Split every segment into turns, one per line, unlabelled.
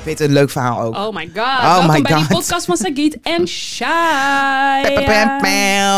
Ik weet een leuk verhaal ook.
Oh my
my
god. Welkom bij
God.
die podcast van Sagit en Shai.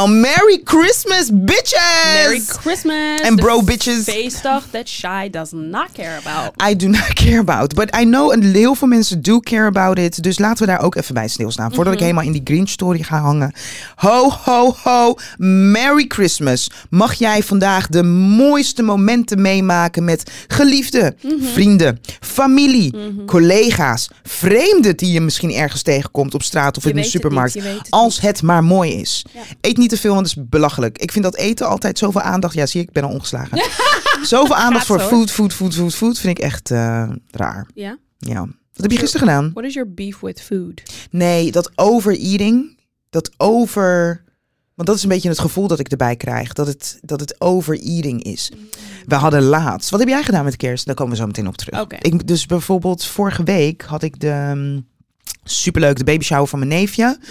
Merry Christmas, bitches!
Merry Christmas.
And
the
bro bitches.
Feestdag that Shai does not care about.
I do not care about. But I know een heel veel mensen do care about it. Dus laten we daar ook even bij stilstaan. Voordat
Mhm.
ik helemaal in die Grinch story ga hangen. Ho, ho, ho. Merry Christmas. Mag jij vandaag de mooiste momenten meemaken met geliefden,
Mhm.
vrienden, familie, collega's, vreemden die je misschien ergens tegenkomt op straat of
Je
in de
weet het
supermarkt.
niet, je weet het
als het maar mooi is.
Ja.
Eet niet te veel, want het is belachelijk. Ik vind dat eten altijd zoveel aandacht. Ja, zie je, ik ben al ongeslagen. Zoveel aandacht
Gaat
voor
zo, hoor.
food, food, food, food, food vind ik echt eh, raar.
Ja?
Ja. Wat heb je gisteren gedaan?
What is your beef with food?
Nee, dat overeating, dat over... Want dat is een beetje het gevoel dat ik erbij krijg. Dat het, dat het overeating is. We hadden laatst... Wat heb jij gedaan met kerst? Daar komen we zo meteen op terug.
Oké.
Ik, dus bijvoorbeeld vorige week had ik de... ehm, Superleuk, de baby shower van mijn neefje.
Mhm.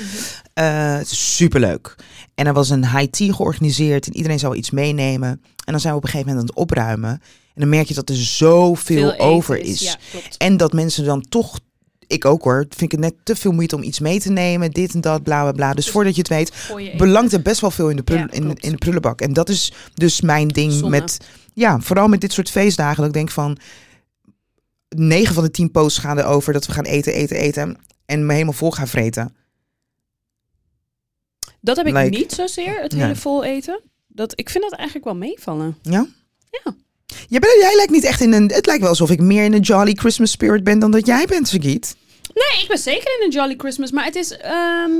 Eh, het is superleuk. En er was een high tea georganiseerd en iedereen zou iets meenemen. En dan zijn we op een gegeven moment aan het opruimen. En dan merk je dat er zoveel
eten
over is.
Ja, klopt.
En dat mensen dan toch, ik ook hoor, vind ik het net te veel moeite om iets mee te nemen. Dit en dat, bla bla bla. Dus
Dus
voordat je het weet,
Gooi je eten.
belangt er best wel veel in de, prul-
Ja,
in, de-
klopt.
in de prullenbak. En dat is dus mijn ding
Zonde.
met, ja, vooral met dit soort feestdagen. Dat ik denk van, 9 van de 10 posts gaan erover dat we gaan eten, eten, eten. En me helemaal vol gaan vreten.
Dat heb ik
Like-
niet zozeer, het
Nee.
hele vol eten. Dat, ik vind dat eigenlijk wel meevallen.
Ja?
Ja.
Jij, bent, jij lijkt niet echt in een. Het lijkt wel alsof ik meer in een Jolly Christmas spirit ben dan dat jij bent, Sagiet.
Nee, ik ben zeker in een Jolly Christmas, maar het is... ehm,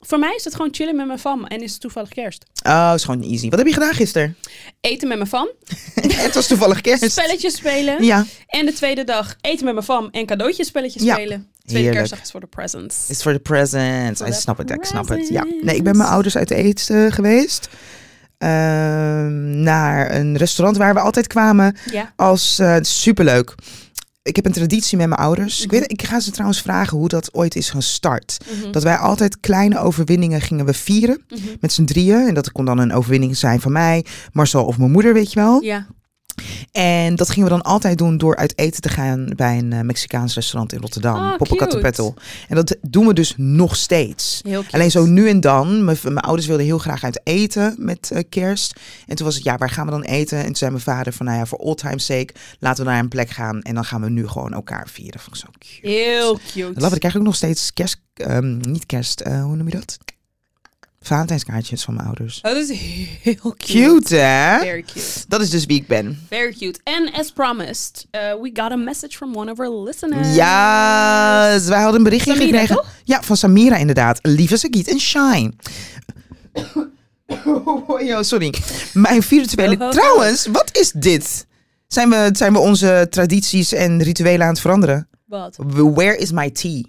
voor mij is het gewoon chillen met mijn fam en is het toevallig kerst.
Oh, is gewoon easy. Wat heb je gedaan gisteren?
Eten met mijn fam,
het was toevallig kerst.
spelletjes spelen.
Ja.
En de tweede dag eten met mijn fam en cadeautjes spelletjes
Ja.
spelen. Tweede
Heerlijk.
kerstdag is voor de presents.
Is voor de presents.
For
I
the
snap het, ik snap het. Ja. Nee, ik ben
presents.
mijn ouders uit eten geweest. Ehm, naar een restaurant waar we altijd kwamen.
Ja.
Als eh, superleuk. Ik heb een traditie met mijn ouders. Ik, weet, ik ga ze trouwens vragen hoe dat ooit is gestart.
Mhm.
Dat wij altijd kleine overwinningen gingen we vieren.
Mhm.
Met z'n drieën. En dat kon dan een overwinning zijn van mij, Marcel of mijn moeder, weet je wel.
Ja.
En dat gingen we dan altijd doen door uit eten te gaan bij een eh, Mexicaans restaurant in Rotterdam.
Ah,
Popocatépetl. En dat doen we dus nog steeds.
Heel cute.
Alleen zo nu en dan. Mijn, mijn ouders wilden heel graag uit eten met eh, kerst. En toen was het, ja, waar gaan we dan eten? En toen zei mijn vader van, nou ja, voor all time's sake, laten we naar een plek gaan. En dan gaan we nu gewoon elkaar vieren. Vond ik zo cute.
Heel cute.
Dat love it. Ik krijg ook nog steeds kerst, ehm, niet kerst, eh, hoe noem je dat? Valentijnskaartjes van mijn ouders.
Dat is heel cute.
Cute, hè?
Very cute.
Dat is dus wie ik ben.
Very cute. And as promised, uh, we got a message from one of our listeners.
Ja, dus wij hadden een berichtje
Samira,
gekregen.
toch?
Ja, van Samira inderdaad. Lieve Sagiet en Shine. Oh, yo, sorry. Mijn virtuele...
Ho, ho, ho.
Trouwens, wat is dit? Zijn we, zijn we onze tradities en rituelen aan het veranderen?
Wat?
Where is my tea?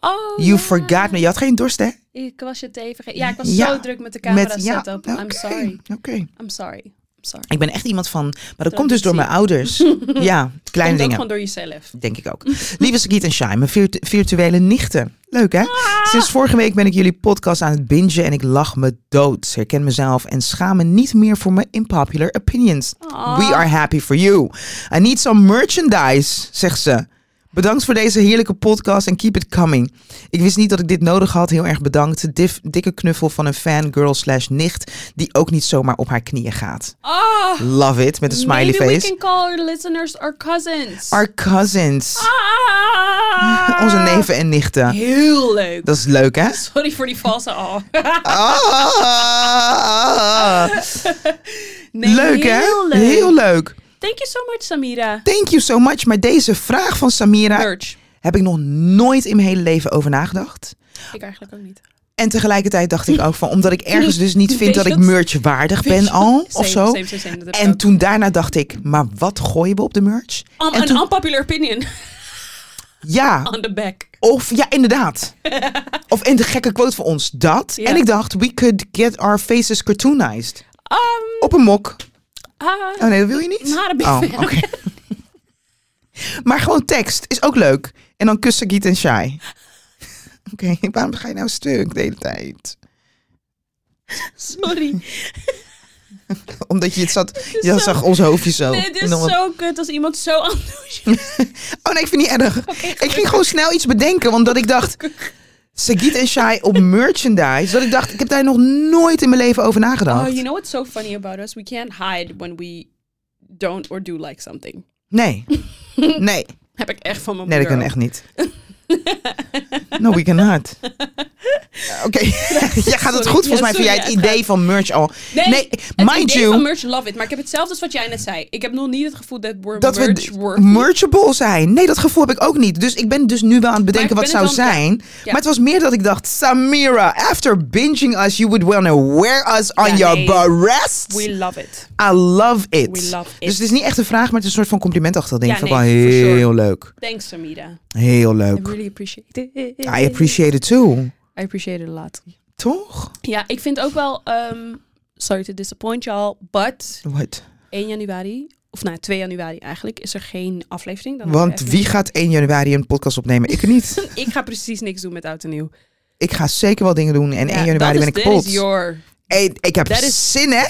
Oh,
You
ja.
forgot me. Je had geen dorst, hè?
Ik was je thee vergeten. Ja, ik was
Ja,
zo druk met de camera
Met- ja,
setup. I'm
oké,
sorry.
Oké.
I'm sorry. I'm sorry.
Ik ben echt iemand van... Maar dat komt dus door mijn ouders. ja, kleine
Komt ook
dingen.
gewoon door jezelf.
Denk ik ook. Lieve Sagiet en Shai, mijn virtu- virtuele nichten. Leuk hè?
Ah.
Sinds vorige week ben ik jullie podcast aan het bingen en ik lach me dood. Herken mezelf en schaam me niet meer voor mijn unpopular opinions.
Ah.
We are happy for you. I need some merchandise, zegt ze. Bedankt voor deze heerlijke podcast en keep it coming. Ik wist niet dat ik dit nodig had. Heel erg bedankt. Dif- dikke knuffel van een fangirl slash nicht die ook niet zomaar op haar knieën gaat.
Ah,
Love it, met een smiley
maybe we
face.
can call our listeners our cousins.
Our cousins.
Ah.
Onze neven en nichten.
Heel leuk.
Dat is leuk, hè?
Sorry voor die valse al.
Ah.
Nee,
leuk, hè?
Heel leuk.
Heel leuk.
Thank you so much, Samira.
Thank you so much. Maar deze vraag van Samira
Merch.
heb ik nog nooit in mijn hele leven over nagedacht.
Ik eigenlijk ook niet.
En tegelijkertijd dacht ik ook van, omdat ik ergens dus niet vind
Weet
dat
je
ik
wat?
merch waardig
Weet
ben
je-
al, of
Same,
zo.
same, same, same, dat heb ik
En
ook.
toen daarna dacht ik, maar wat gooien we op de merch?
Um,
en
an
toen-
unpopular opinion
Ja,
on the back.
of ja, inderdaad. Of en de gekke quote voor ons, dat.
Ja.
En ik dacht, we could get our faces cartoonized.
Um,
Op een mok.
ah,
Oh nee, dat wil je niet?
Not a big
Oh,
fan.
oké. Maar gewoon tekst is ook leuk. En dan kussen Giet en Shai. Oké, waarom ga je nou stuk de hele tijd?
sorry.
Omdat je het zat, je
zo-
zag ons hoofdje zo.
Nee, dit
En
is
dan wat-
zo kut als iemand zo enthousiast
Oh nee, ik vind het niet erg. Ik ging gewoon snel iets bedenken, want dat ik dacht... Sagit en Shai op merchandise. Dat ik dacht, ik heb daar nog nooit in mijn leven over
Oh,
nagedacht.
you know what's so funny about us? We can't hide when we don't or do like something.
Nee. Nee.
Heb ik echt van mijn
Nee, dat kan
moeder.
echt niet. No, we cannot. Oké, jij gaat het
Sorry.
goed. Volgens mij
Ja,
vind
sorry,
jij
ja,
het
het
idee van merch al...
Nee,
Nee,
het
mind
idee
you-
van merch, love it. Maar ik heb hetzelfde als wat jij net zei. Ik heb nog niet het gevoel dat we're
dat
merch
we d-
worthy.
merchable zijn. Nee, dat gevoel heb ik ook niet. Dus ik ben dus nu wel aan het bedenken
Maar
wat
ik
zou
ben het wel-
zijn. Maar het was meer dat ik dacht, Samira, after binging us, you would wanna wear us on
Ja,
your
nee.
breast.
We love it.
I love it.
We love it.
Dus het is niet echt een vraag, maar het is een soort van complimentachtig ding.
Ja,
van
nee,
wel
for sure.
heel leuk.
Thanks, Samira.
Heel
I
leuk.
really appreciate it.
I appreciate it too.
I appreciate it a lot.
Toch?
Ja, ik vind ook wel... ehm, sorry to disappoint y'all, but
Wat?
1 januari... Of nou, 2 januari eigenlijk is er geen aflevering. Dan
Want
even-
wie gaat 1 januari een podcast opnemen? Ik niet.
Ik ga precies niks doen met Oud en Nieuw.
ik ga zeker wel dingen doen en
Ja,
1 januari
dat
ben
is-
ik kapot.
That is your...
Hey, ik heb
Dat is-
zin, hè?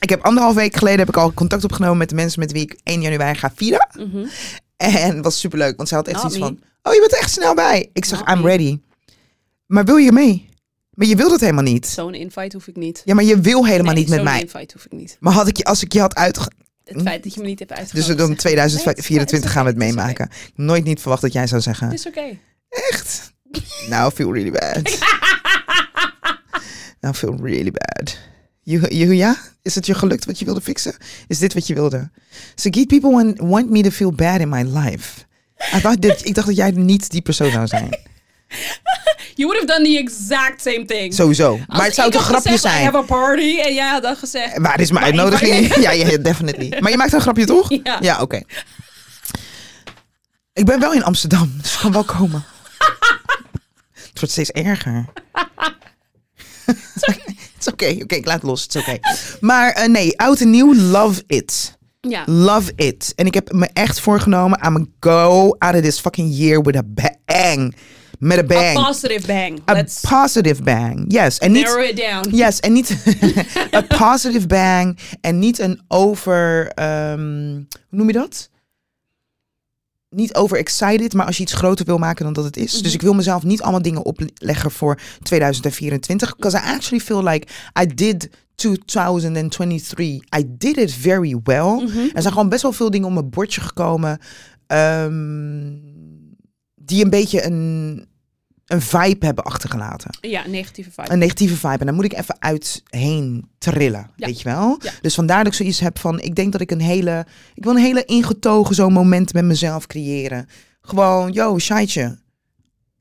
Ik heb anderhalf week geleden heb ik al contact opgenomen met de mensen met wie ik 1 januari ga vieren.
Mhm.
En het was superleuk, want ze had echt
Not
zoiets
me.
van... Oh, je bent er echt snel bij. Ik zeg,
Not
I'm
me.
ready. Maar wil je mee? Maar je wil dat helemaal niet.
Zo'n invite hoef ik niet.
Ja, maar je wil helemaal
Nee,
niet met
zo'n
mij.
invite hoef ik niet.
Maar had ik je, als ik je had uitge...
Het feit dat je me niet hebt
Dus
uitgenodigd.
dan
is echt- Nee, het is
2024
oké,
gaan we het
het is oké.
meemaken. Nooit niet verwacht dat jij zou zeggen.
Het is oké.
Echt? Now I feel really bad. Now I feel really bad. You, you, ja? Is het je gelukt wat je wilde fixen? Is dit wat je wilde? So geet people want, want me to feel bad in my life. I thought that- ik dacht dat jij niet die persoon zou zijn.
You would have done the exact same thing.
Sowieso.
Als
Maar het zou
ik
toch
had
grapje
gezegd, I
zijn?
have a party. En jij had dan gezegd...
Waar is mijn
Maar ik-
uitnodiging? Ja, ja, ja, definitely. Maar je maakt een grapje toch?
Ja.
oké. Ik ben wel in Amsterdam, dus ik kan wel komen. Het wordt steeds erger. Het is oké, oké, ik laat het los. Het is oké. Maar eh, nee, oud en nieuw, love it.
Ja.
Love it. En ik heb me echt voorgenomen, I'm a go out of this fucking year with a bang. Met een
A
bang.
positive bang.
A,
Let's
positive bang, yes. En niet,
narrow it down.
Yes, en niet een positive bang en niet een over, ehm, hoe noem je dat? Niet over excited, maar als je iets groter wil maken dan dat het is. Dus ik wil mezelf niet allemaal dingen opleggen voor 2024. Because I actually feel like I did 2023. I did it very well. Er zijn gewoon best wel veel dingen op mijn bordje gekomen. ehm, die een beetje een, een vibe hebben achtergelaten
Ja, negatieve vibe.
een negatieve vibe. En daar moet ik even uit heen trillen,
Ja.
weet je wel?
Ja.
Dus vandaar dat ik zoiets heb van... Ik denk dat ik een hele... Ik wil een hele ingetogen zo'n moment met mezelf creëren. Gewoon, yo, shitje.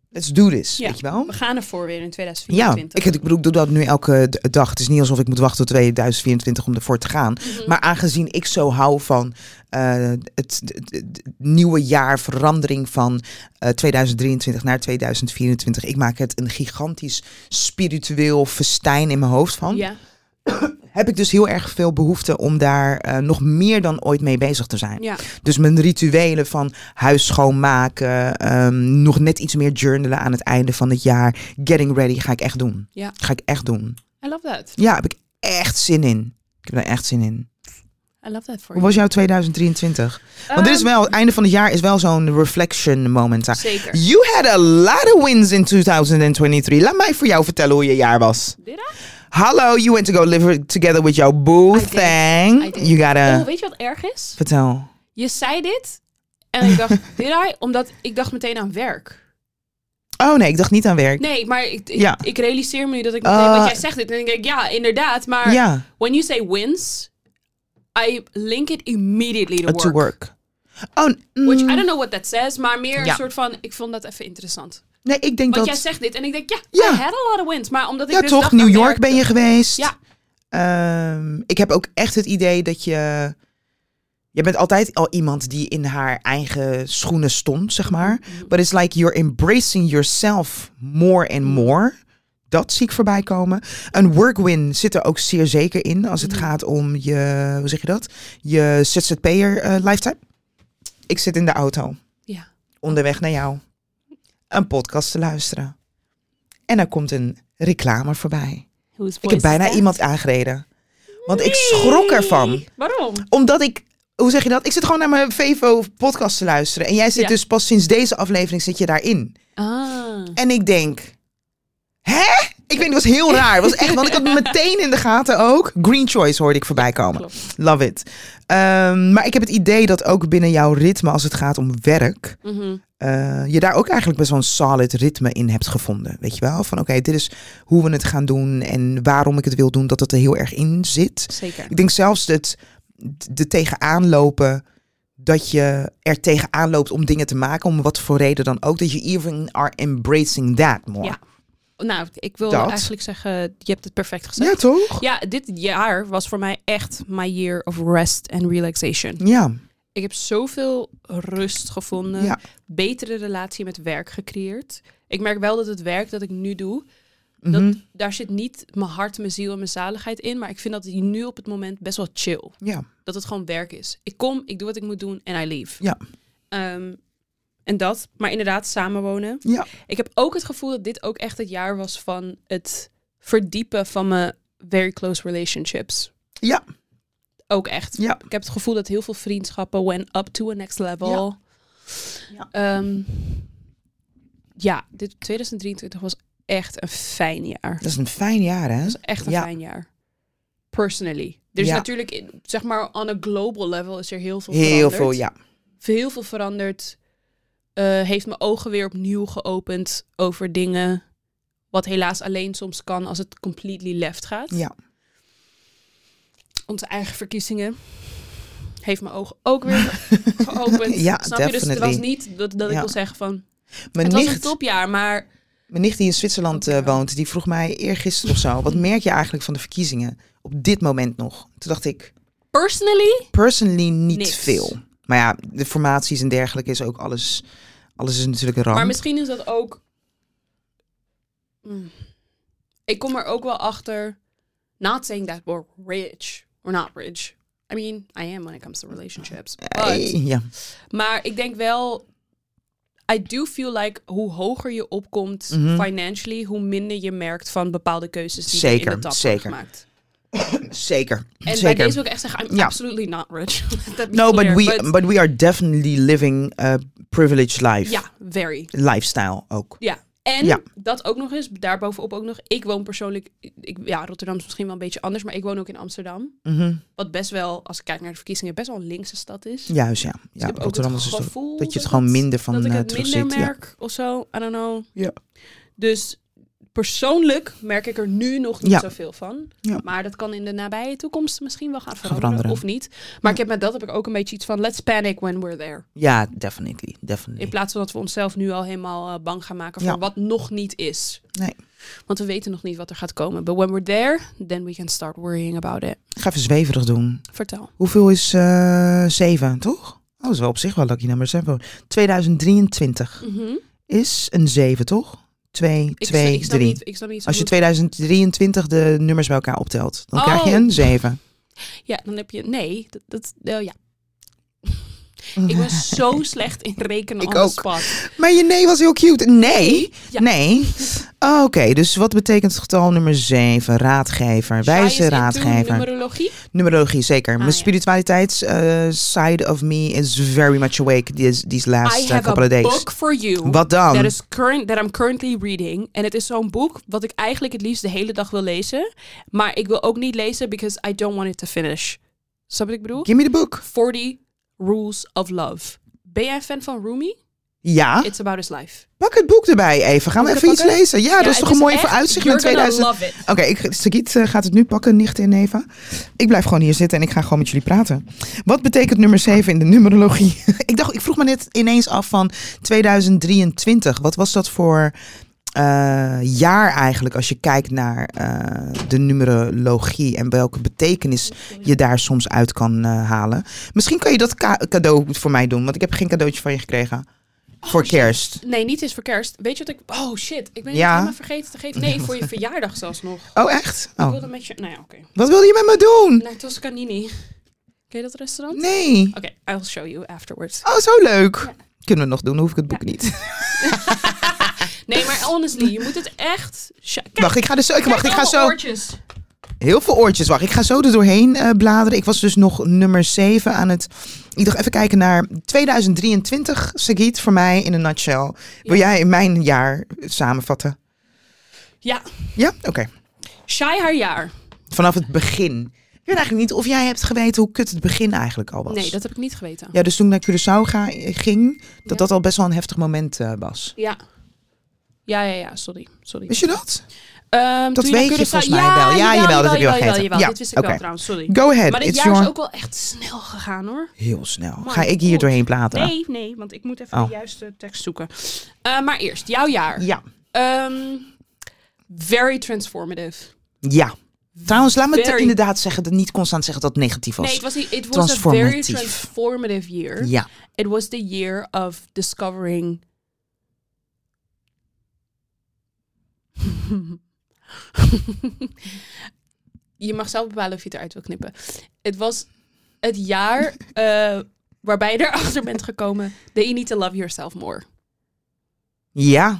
Let's do this,
Ja.
weet je wel?
We gaan ervoor weer in
Ja,
2024.
ik, ik bedoel, ik doe dat nu elke d- dag. Het is niet alsof ik moet wachten tot 2024 om ervoor te gaan. Maar aangezien ik zo hou van eh, het, d- d- d- nieuwe jaar, verandering van eh, 2023 naar 2024. Ik maak het een gigantisch spiritueel festijn in mijn hoofd van.
Ja.
Heb ik dus heel erg veel behoefte om daar eh, nog meer dan ooit mee bezig te zijn.
Ja.
Dus mijn rituelen van huis schoonmaken, ehm, nog net iets meer journalen aan het einde van het jaar. Getting ready ga ik echt doen.
Ja.
Ga ik echt doen.
I love that.
Ja, heb ik echt zin in. Ik heb daar echt zin in.
I love that for
Hoe
you.
was jouw 2023? Want dit is
Ehm,
wel, het einde van het jaar is wel zo'n reflection moment.
Zeker.
You had a lot of wins in 2023. Laat mij voor jou vertellen hoe je jaar was.
Did I?
Hallo, you went to go live together with your
I
boo
did. I
thing.
did.
You gotta...
Oh, weet je wat erg is?
Vertel.
Je zei dit en ik dacht, did I? Omdat ik dacht meteen aan werk.
Oh nee, ik dacht niet aan werk.
Nee, maar ik, ik,
Ja.
ik realiseer me nu dat ik meteen,
Eh.
want jij zegt dit en dan denk ik, ja, inderdaad. Maar
Ja.
when you say wins, I link it immediately to
Uh,
work.
to work. Oh, mm,
Which I don't know what that says, maar meer
Ja.
een soort van, ik vond dat even interessant.
nee, ik denk
Want
dat...
jij zegt dit en ik denk, ja,
Ja.
I had a lot of wins. Maar omdat ik
ja,
dus
toch?
dacht
New
aan
York
werk-
ben je geweest.
Ja.
Ehm, ik heb ook echt het idee dat je... Je bent altijd al iemand die in haar eigen schoenen stond, zeg maar.
Mm-hmm.
But it's like you're embracing yourself more and
Mm-hmm.
more. Dat zie ik voorbij komen. Een workwin zit er ook zeer zeker in als
Mm-hmm.
het gaat om je, hoe zeg je dat? Je ZZP'er eh lifetime. Ik zit in de auto.
Ja.
onderweg naar jou een podcast te luisteren. En er komt een reclame voorbij.
Whose
Ik
voice
heb
is
bijna
that?
iemand aangereden. Want ik schrok ervan.
Waarom?
Omdat ik, hoe zeg je dat? Ik zit gewoon naar mijn Vevo podcast te luisteren. En jij zit
Ja.
dus pas sinds deze aflevering zit je daarin.
Ah.
En ik denk, hè? Ik weet niet, het was heel raar. Het was echt, want ik had het meteen in de gaten ook. Green Choice hoorde ik voorbij komen.
klopt.
Love it. Ehm, maar ik heb het idee dat ook binnen jouw ritme als het gaat om werk...
Mhm.
eh, je daar ook eigenlijk best wel een solid ritme in hebt gevonden. Weet je wel? Van oké, dit is hoe we het gaan doen en waarom ik het wil doen, dat het er heel erg in zit.
Zeker.
Ik denk zelfs dat de tegenaan lopen, dat je er tegenaan loopt om dingen te maken, om wat voor reden dan ook, dat je even are embracing that more.
Ja. Nou, ik wil
Dat.
eigenlijk zeggen, je hebt het perfect gezegd.
Ja, toch?
Ja, dit jaar was voor mij echt my year of rest and relaxation.
Ja,
Ik heb zoveel rust gevonden,
ja.
betere relatie met werk gecreëerd. Ik merk wel dat het werk dat ik nu doe, dat,
Mhm.
daar zit niet mijn hart, mijn ziel en mijn zaligheid in. Maar ik vind dat nu op het moment best wel chill.
ja.
Dat het gewoon werk is. Ik kom, ik doe wat ik moet doen en I leave.
Ja.
Ehm, en dat, maar inderdaad samenwonen.
Ja.
Ik heb ook het gevoel dat dit ook echt het jaar was van het verdiepen van mijn very close relationships.
Ja.
Ook echt.
Ja.
Ik heb het gevoel dat heel veel vriendschappen went up to a next level.
Ja.
Ja, Ehm, ja dit 2023 was echt een fijn jaar.
Dat is een fijn jaar, hè?
Dat is echt een
Ja.
fijn jaar. Personally. Er is
Ja.
natuurlijk, in- zeg maar, on a global level is er heel veel
Heel
veranderd.
veel, ja.
Heel veel veranderd. Eh, heeft mijn ogen weer opnieuw geopend over dingen. Wat helaas alleen soms kan als het completely left gaat.
Ja.
Onze eigen verkiezingen. Heeft mijn ogen ook weer geopend.
Ja,
Snap je? Dus het was
definitely.
niet dat, dat ik
Ja.
wil zeggen van...
Mijn
het was een
nicht,
topjaar, maar...
mijn nicht die in Zwitserland eh, woont, die vroeg mij eergisteren of zo, wat merk je eigenlijk van de verkiezingen op dit moment nog? Toen dacht ik,
Personally?
personally niet
Niks.
veel. Maar ja, de formaties en dergelijke is ook alles. Alles is natuurlijk een ramp.
Maar misschien is dat ook. Mm. Ik kom er ook wel achter. Not saying that we're rich or not rich. I mean, I am when it comes to relationships. But,
Eh, ja.
maar ik denk wel. I do feel like hoe hoger je opkomt
Mhm.
financially, hoe minder je merkt van bepaalde keuzes die je
Zeker,
in de tap
zeker.
wordt gemaakt.
Zeker.
En
Zeker.
bij deze wil ik echt zeggen, I'm
Ja.
absolutely not rich. Let that be
no, but
clear.
we, but... we are definitely living a privileged life.
ja, very.
Lifestyle ook.
Ja. En
Ja.
dat ook nog eens, daarbovenop ook nog. Ik woon persoonlijk, ik, ja, Rotterdam is misschien wel een beetje anders, maar ik woon ook in Amsterdam.
Mhm.
Wat best wel, als ik kijk naar de verkiezingen, best wel een linkse stad is.
Juist, ja. ja
Dus ik heb ook
Rotterdam
het
is dus toch-
gevoel
dat je
dat
het gewoon
het-
minder van
dat ik
eh,
het
terug
minder
zit. Ja.
merk of zo, I don't know.
Ja.
Dus persoonlijk merk ik er nu nog niet
Ja.
zoveel van.
Ja.
Maar dat kan in de nabije toekomst misschien wel gaan veranderen,
veranderen.
of niet. Maar ik heb met dat heb ik ook een beetje iets van, let's panic when we're there.
ja, definitely.
In
definitely.
plaats van dat we onszelf nu al helemaal eh, bang gaan maken voor
Ja.
wat nog niet is.
Nee.
Want we weten nog niet wat er gaat komen. But when we're there, then we can start worrying about it.
Ik ga even zweverig doen.
Vertel.
Hoeveel is eh, zeven, toch? Oh, dat is wel op zich wel lucky nummer. zeven. 2023
Mhm.
is een zeven, toch? Twee,
Ik,
twee,
sta- ik snap
drie.
niet, ik snap niet zo
Als je
goed.
2023 de nummers bij elkaar optelt, dan krijg je
Oh.
een 7.
Ja, dan heb je... Nee, dat... dat eh, ja. Ik was zo slecht in rekenen
Ik
on the
ook.
spot.
Maar je nee was heel cute. Nee.
Ja.
Nee. Oh, Oké, dus wat betekent het getal nummer 7? Raadgever.
Shai is
Wijze
into
raadgever.
Numerologie.
Numerologie, zeker. Mijn
Ah, ja.
spiritualiteits eh, side of me is very much awake these, these last
I
eh,
have
couple
a
of days.
book for you.
Wat dan?
That, is current, that I'm currently reading. En het is zo'n boek wat ik eigenlijk het liefst de hele dag wil lezen. Maar ik wil ook niet lezen because I don't want it to finish. Snap je wat ik bedoel?
Give me the book.
40 Rules of Love. Ben jij fan van Rumi?
Ja,
It's about his life.
pak het boek erbij even. Gaan we
Moet ik
even
het
iets
pakken?
lezen? Ja, dat is
het
toch een mooi
echt-
vooruitzicht naar
you're gonna
2000.
love it.
Oké, ik- Sagiet eh, gaat het nu pakken, nicht en Eva. Ik blijf gewoon hier zitten en ik ga gewoon met jullie praten. Wat betekent nummer 7 in de numerologie? ik dacht, ik vroeg me net ineens af van 2023. Wat was dat voor eh, jaar eigenlijk als je kijkt naar eh, de numerologie en welke betekenis je daar soms uit kan eh, halen? Misschien kan je dat ka- cadeau voor mij doen, want ik heb geen cadeautje van je gekregen voor
Oh, shit.
kerst.
Nee, niet eens voor kerst. Weet je wat ik... Oh shit, ik ben
Ja.
het helemaal vergeten te geven. Nee, voor je verjaardag zelfs nog.
Oh, echt?
Ik
Oh.
wilde met je... Nou ja, oké.
Wat wilde je met me doen?
Naar Toscanini. Ken je dat restaurant?
Nee.
Oké, I'll show you afterwards.
Oh, zo leuk. Kunnen we nog doen, dan hoef ik het boek niet.
Nee, maar honestly, je moet het echt... Sh- Kijk,
Wacht, ik ga dus zo. Ik, wacht, ik ga zo.
Oortjes.
Heel veel oortjes. Wacht, ik ga zo er doorheen eh, bladeren. Ik was dus nog nummer 7 aan het... Ik dacht even kijken naar 2023, Sagit, voor mij in een nutshell. Wil
Ja.
jij mijn jaar samenvatten?
Ja,
Ja? Oké.
Shai haar jaar.
Vanaf het begin. Ik weet eigenlijk niet of jij hebt geweten hoe kut het begin eigenlijk al was.
Nee, dat heb ik niet geweten.
Ja, dus toen ik naar Curaçao ga, ging, dat
Ja.
dat al best wel een heftig moment eh, was.
Ja. Ja, ja, ja, sorry. sorry.
Wist je dat?
Ehm,
Dat
toen
weet
je naar
je
Curaçao-
volgens mij wel. Ja, jawel, dat heb je wel gegeten. Ja,
Dit wist ik
oké.
wel trouwens, sorry.
Go ahead.
maar dit
It's
jaar
your-
is ook wel echt snel gegaan hoor.
Heel snel.
My
Ga ik hier
God.
doorheen bladeren?
Nee, nee, want ik moet even
Oh.
de juiste tekst zoeken. Eh, maar eerst, jouw jaar.
Ja.
Ehm, very transformative.
Ja. Trouwens, laat me het
Very-
inderdaad zeggen, dat niet constant zeggen dat het negatief was.
Nee, het was niet. It was a very
transformatief.
transformative year.
Ja.
It was the year of discovering. je mag zelf bepalen of je het eruit wil knippen. Het was het jaar eh, waarbij je erachter bent gekomen that you need to love yourself more.
Ja.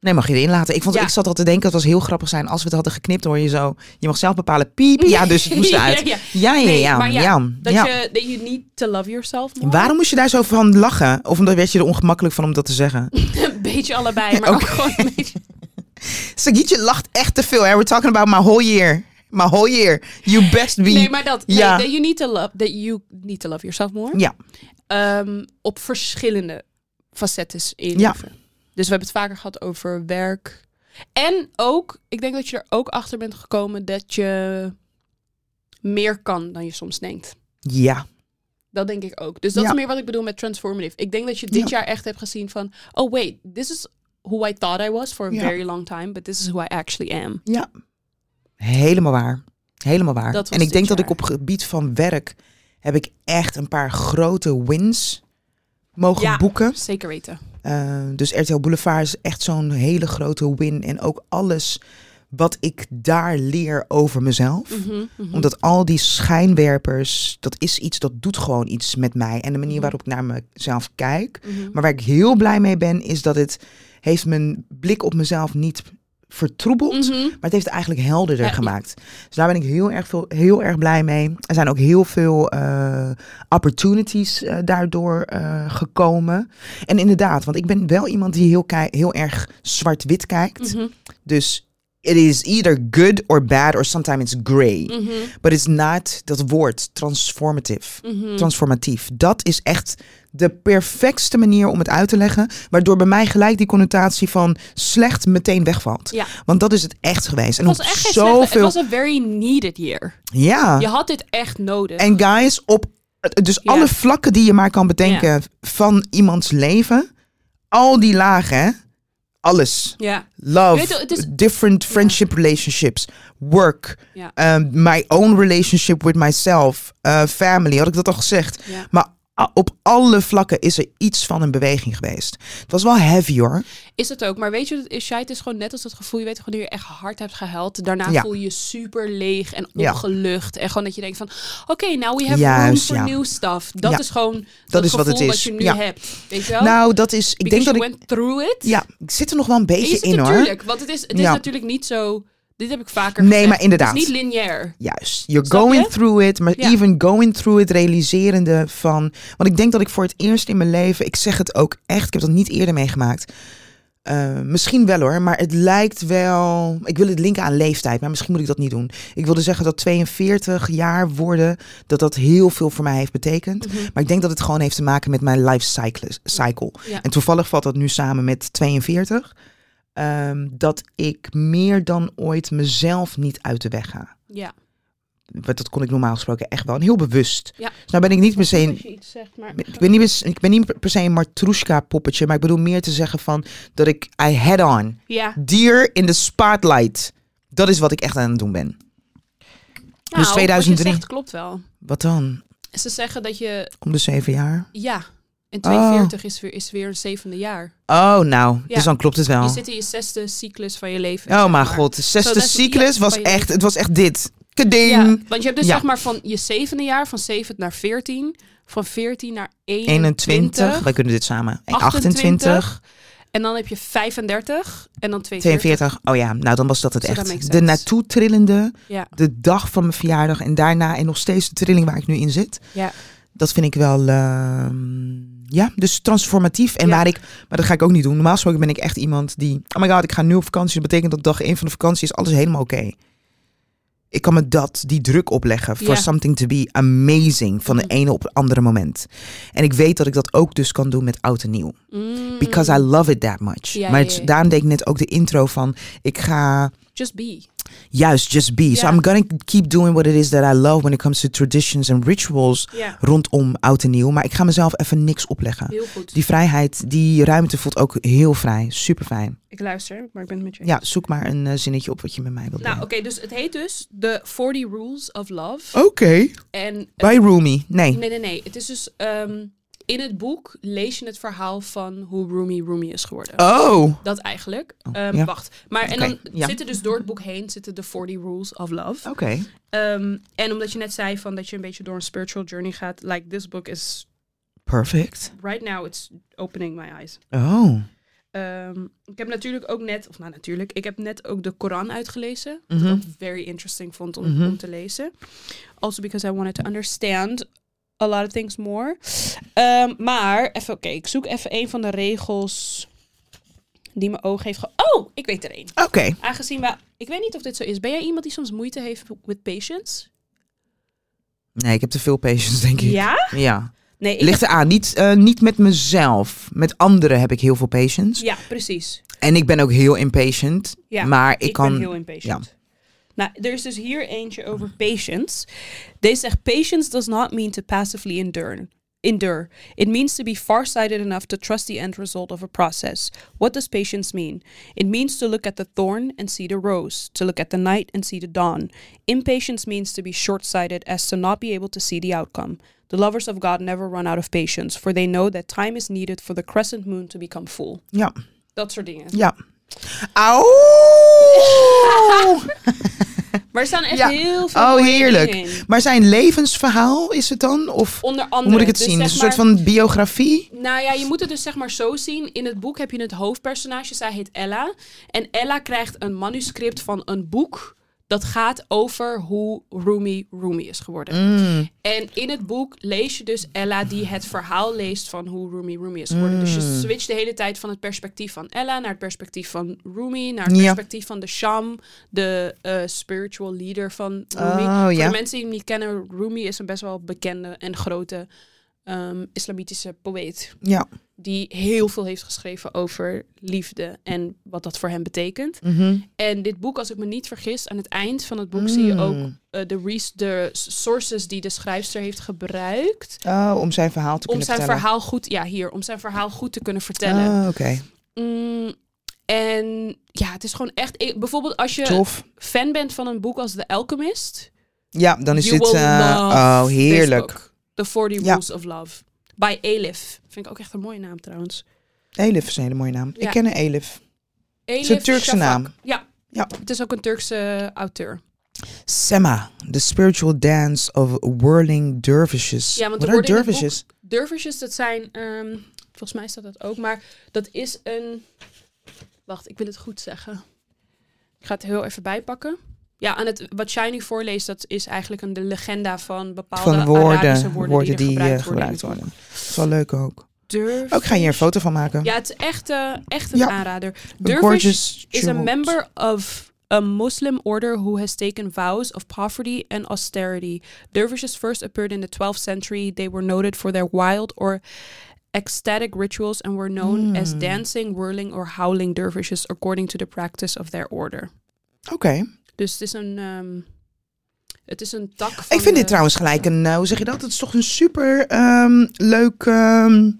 Nee, mag je erin laten. Ik, vond,
Ja.
ik zat al te denken, het was heel grappig zijn als we het hadden geknipt, hoor je zo. Je mag zelf bepalen, piep. Ja, dus het moest eruit.
ja, ja.
Ja, ja,
Nee,
ja.
maar ja,
ja,
Dat
ja.
je that you need to love yourself more.
Waarom moest je daar zo van lachen? Of omdat werd je er ongemakkelijk van om dat te zeggen?
Een beetje allebei, maar ook
Oké.
gewoon een beetje.
Sagietje lacht echt te veel. Hè? We're talking about my whole year. My whole year. You best be.
Nee, maar dat.
Ja.
Nee, that you need to love, that you need to love yourself more.
Ja.
Ehm, op verschillende facetten in
Ja.
leven. Dus we hebben het vaker gehad over werk. En ook, ik denk dat je er ook achter bent gekomen dat je meer kan dan je soms denkt.
Ja.
Dat denk ik ook. Dus dat
Ja.
is meer wat ik bedoel met transformative. Ik denk dat je dit jaar echt hebt gezien van, oh wait, this is who I thought I was for a
Ja.
very long time, but this is who I actually am.
Ja. Helemaal waar. Helemaal waar.
Dat was
En ik
dit
denk dat
jaar.
ik op gebied van werk heb ik echt een paar grote wins mogen
Ja.
boeken.
Zeker weten.
Eh, dus RTL Boulevard is echt zo'n hele grote win. En ook alles wat ik daar leer over mezelf.
Mhm, mhm.
Omdat al die schijnwerpers, dat is iets, dat doet gewoon iets met mij. En de manier
Mhm.
waarop ik naar mezelf kijk.
Mhm.
Maar waar ik heel blij mee ben, is dat het heeft mijn blik op mezelf niet vertroebeld.
Mhm.
Maar het heeft het eigenlijk helderder
Ja, ja.
gemaakt. Dus daar ben ik heel erg, veel, heel erg blij mee. Er zijn ook heel veel eh, opportunities eh, daardoor eh, gekomen. En inderdaad, want ik ben wel iemand die heel, kei- heel erg zwart-wit kijkt.
Mhm.
Dus it is either good or bad or sometimes it's gray.
Mhm.
But it's not, dat woord, transformative
Mhm.
transformatief. Dat is echt de perfectste manier om het uit te leggen. Waardoor bij mij gelijk die connotatie van slecht meteen wegvalt.
Ja.
Want dat is het echt geweest. En
Het
op
was echt geen
zoveel.
slechte, het was een very needed year.
Ja.
Je had dit echt nodig.
En guys, op dus
Ja.
alle vlakken die je maar kan bedenken van iemands leven. Al die lagen. hè? Alles.
ja,
Love,
Weet je, het is-
different friendship relationships, work,
ja,
um, my own relationship with myself, uh, family, had ik dat al gezegd.
ja.
Maar a- op alle vlakken is er iets van een beweging geweest. Het was wel heavy hoor.
Is het ook. Maar weet je, wat het is, Shai? het is gewoon net als dat gevoel. Je weet gewoon dat je echt hard hebt gehuild. Daarna
Ja.
voel je je super leeg en
Ja.
opgelucht. En gewoon dat je denkt van, oké, nou we have
Juist,
room for
ja.
new stuff. Dat
Ja.
is gewoon dat,
is wat
gevoel
het is.
wat je nu
Ja.
hebt. Weet je wel?
Nou, dat is. Ik
Oh.
denk
Because
dat
you
ik.
went through it.
Ja, ik zit er nog wel een
En je
beetje
zit er
in hoor.
tuurlijk, want het is, het is
Ja.
natuurlijk niet zo... Dit heb ik vaker
Nee,
gezegd.
maar inderdaad.
Het is niet lineair.
Juist. You're
Snap
going
je?
through it, maar
Ja.
even going through it, realiserende van. Want ik denk dat ik voor het eerst in mijn leven, ik zeg het ook echt, ik heb dat niet eerder meegemaakt. Eh, misschien wel hoor, maar het lijkt wel. Ik wil het linken aan leeftijd, maar misschien moet ik dat niet doen. Ik wilde zeggen dat 42 jaar worden, dat dat heel veel voor mij heeft betekend.
Mhm.
Maar ik denk dat het gewoon heeft te maken met mijn life cycle. cycle.
Ja.
En toevallig valt dat nu samen met 42. ehm, dat ik meer dan ooit mezelf niet uit de weg ga.
Ja.
Want dat kon ik normaal gesproken echt wel. En heel bewust.
Ja.
Dus nou ben ik niet per se...
Als je iets zegt, maar...
Ik ben, niet, per- ik ben niet per se een matroeska poppetje. Maar ik bedoel meer te zeggen van... Dat ik... I head on.
Ja. Nou,
Deer in the spotlight. Dat is wat ik echt aan het doen ben.
Nou, wat je
2003.
zegt klopt wel.
Wat dan?
Ze zeggen dat je,
Om de zeven jaar?
ja, en
Oh.
42 is, weer, is weer een zevende jaar.
Oh, nou.
Ja.
Dus dan klopt het wel.
Je zit in je zesde cyclus van je leven.
Oh
zeg
mijn
maar.
god, de
Zo,
zesde
dat is-
cyclus
ja,
was
van je
echt, het was echt dit. Keding.
Ja, want je hebt dus
Ja.
zeg maar van je zevende jaar, van 7 naar 14, van 14 naar 21,
21, wij kunnen dit samen. 28.
En dan heb je 35 en dan 42.
42, oh ja, nou dan was dat het
So that makes
echt. De
sense.
naartoe trillende,
Ja.
de dag van mijn verjaardag en daarna en nog steeds de trilling waar ik nu in zit.
Ja.
Dat vind ik wel, ehm, ja, dus transformatief. En
Ja.
waar ik, maar dat ga ik ook niet doen. Normaal gesproken ben ik echt iemand die, oh my god, ik ga nu op vakantie. Dat betekent dat dag één van de vakantie is alles helemaal oké. Ik kan me dat, die druk opleggen voor
Ja.
something to be amazing van de
Mhm.
ene op het andere moment. En ik weet dat ik dat ook dus kan doen met oud en nieuw.
Mm,
Because I love it that much.
Ja,
maar
ja,
het-
ja.
daarom deed ik net ook de intro van, ik ga
Just be.
Juist, just be. So
Ja.
I'm gonna keep doing what it is that I love when it comes to traditions and rituals
Ja.
rondom oud en nieuw. Maar ik ga mezelf even niks opleggen.
Heel goed.
Die vrijheid, die ruimte voelt ook heel vrij. Super fijn.
Ik luister, maar ik ben het met je. eens.
Ja, zoek maar een eh, zinnetje op wat je met mij wilt
Nou, oké,
delen.
dus het heet dus de 40 Rules of Love.
Oké.
En
Bij Rumi. Nee.
Nee, nee, nee. Het is dus ehm, in het boek lees je het verhaal van hoe Rumi Rumi is geworden.
Oh.
Dat eigenlijk.
Oh,
Ehm,
ja.
Wacht. Maar en
Oké,
dan
ja. Oh.
zitten dus door het boek heen zitten de 40 Rules of Love.
Oké.
Ehm, en omdat je net zei van dat je een beetje door een spiritual journey gaat, like this book is
Perfect.
right now it's opening my eyes.
Oh.
Ehm, ik heb natuurlijk ook net, of nou natuurlijk, ik heb net ook de Koran uitgelezen.
Mhm.
Wat ik ook very interesting vond om,
Mhm.
om te lezen. Also because I wanted to understand a lot of things more. Ehm, maar, even oké, ik zoek even een van de regels die mijn oog heeft ge... Oh, ik weet er één.
Oké.
Aangezien we... Ik weet niet of dit zo is. Ben jij iemand die soms moeite heeft with patience?
Nee, ik heb te veel patience, denk ik.
Ja?
Ja.
Nee, ik
Ligt eraan. Niet, eh, niet met mezelf. Met anderen heb ik heel veel patience.
heb- Ja, precies.
En ik ben ook heel impatient.
Ja,
maar ik,
Ik,
kan...
ben heel impatient. Nou, er is dus hier eentje over patience. Deze zegt, patience does not mean to passively endure. Endure. It means to be farsighted enough to trust the end result of a process. What does patience mean? It means to look at the thorn and see the rose, to look at the night and see the dawn. Impatience means to be short sighted as to not be able to see the outcome. The lovers of God never run out of patience, for they know that time is needed for the crescent moon to become full.
Ja.
Dat soort dingen.
Ja. Auw!
Maar er staan echt
Ja.
heel veel
oh,
mooie
heerlijk.
dingen in.
Maar zijn levensverhaal is het dan? Of
Onder andere.
hoe moet ik het
dus
zien?
zeg
Is het een
maar-
soort van biografie?
Nou ja, je moet het dus zeg maar zo zien. In het boek heb je het hoofdpersonage, zij heet Ella. En Ella krijgt een manuscript van een boek dat gaat over hoe Rumi Rumi is geworden.
Mm.
En in het boek lees je dus Ella die het verhaal leest van hoe Rumi Rumi is geworden. Dus je
Mm.
switcht de hele tijd van het perspectief van Ella naar het perspectief van Rumi, naar het
Ja.
perspectief van de Sham, de eh, spiritual leader van Rumi.
Oh,
Voor
ja.
de mensen die hem niet kennen, Rumi is een best wel bekende en grote ehm, islamitische poëet
Ja.
die heel veel heeft geschreven over liefde en wat dat voor hem betekent.
Mhm.
En dit boek, als ik me niet vergis, aan het eind van het boek zie je ook
Mm.
eh, de, res- de sources die de schrijfster heeft gebruikt.
Oh, om zijn verhaal te
Om
kunnen
zijn
vertellen.
verhaal goed, ja, hier, om zijn verhaal goed te kunnen vertellen.
Oh, oké.
Mm, en ja, het is gewoon echt. ik- bijvoorbeeld als je
Tof.
fan bent van een boek als The Alchemist,
Ja, dan is
you
dit...
will
eh,
love
oh,
this
heerlijk.
book, The 40
Ja.
Rules of Love. By Elif. Vind ik ook echt een mooie naam trouwens.
Elif is een hele mooie naam. Ik
Ja.
ken een Elif.
Elif
is een Turkse
Shafak.
naam.
Ja.
Ja.
Het is ook een Turkse eh, auteur.
Sema, the spiritual dance of whirling dervishes.
Ja,
What
want er
are
worden in het boek-
dervishes?
Dervishes, dat zijn, ehm, volgens mij staat dat ook, maar dat is een. Wacht, ik wil het goed zeggen. Ik ga het heel even bijpakken. Ja, aan het, wat jij nu voorleest, dat is eigenlijk een, de legenda van bepaalde
Van woorden,
Arabische woorden, die, er
eh,
gebruikt,
gebruikt
worden.
worden. Dat is wel leuk ook.
Dervish.
Oh, ik ga hier een foto van maken.
Ja, het is echt, eh, echt een
Ja.
aanrader.
A
Dervish
gorgeous
is a
jewel.
member of a Muslim order who has taken vows of poverty and austerity. Dervishes first appeared in the 12th century. They were noted for their wild or ecstatic rituals and were known as
Hmm.
dancing, whirling or howling dervishes according to the practice of their order.
Oké.
Dus het is een, ehm, het is een tak van
Ik vind
de-
dit trouwens gelijk een, eh, hoe zeg je dat? Het is toch een super ehm, leuk... ehm,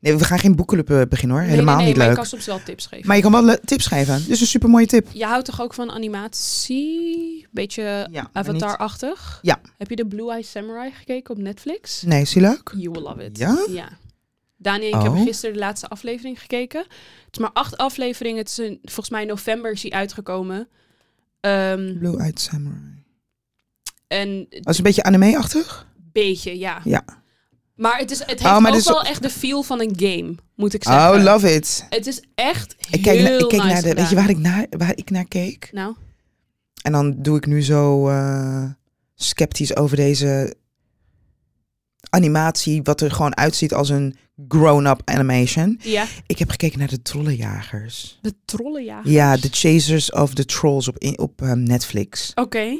Nee, we gaan geen boekclub eh, beginnen hoor.
Nee,
Helemaal
nee, nee,
niet
Maar
leuk.
ik kan soms wel tips geven.
Maar je kan wel le- tips geven. Dus een super mooie tip.
Je houdt toch ook van animatie? Beetje
Ja, maar niet-
Avatar-achtig?
Ja.
Heb je de Blue Eye Samurai gekeken op Netflix?
Nee, is die leuk?
You will love it.
Ja?
Daniel, ik
Oh.
heb gisteren de laatste aflevering gekeken. Het is maar acht afleveringen. Het is een, volgens mij in november is die uitgekomen. Ehm,
Blue Eyed Samurai.
en
Dat is een beetje anime-achtig?
beetje, ja.
Ja. Oh,
Maar het, is, het heeft
maar
ook
dit is-
wel echt de feel van een game, moet ik eh, zeggen.
Oh, love it.
Het is echt
Ik kijk, na-
heel
ik kijk
nice
naar de. Weet je
gedaan.
waar ik naar, waar ik naar keek?
Nou,
En dan doe ik nu zo eh, sceptisch over deze animatie, wat er gewoon uitziet als een grown-up animation.
ja.
Ik heb gekeken naar de trollenjagers.
De trollenjager.
Ja, The Chasers of the Trolls op, in- op eh, Netflix.
Oké.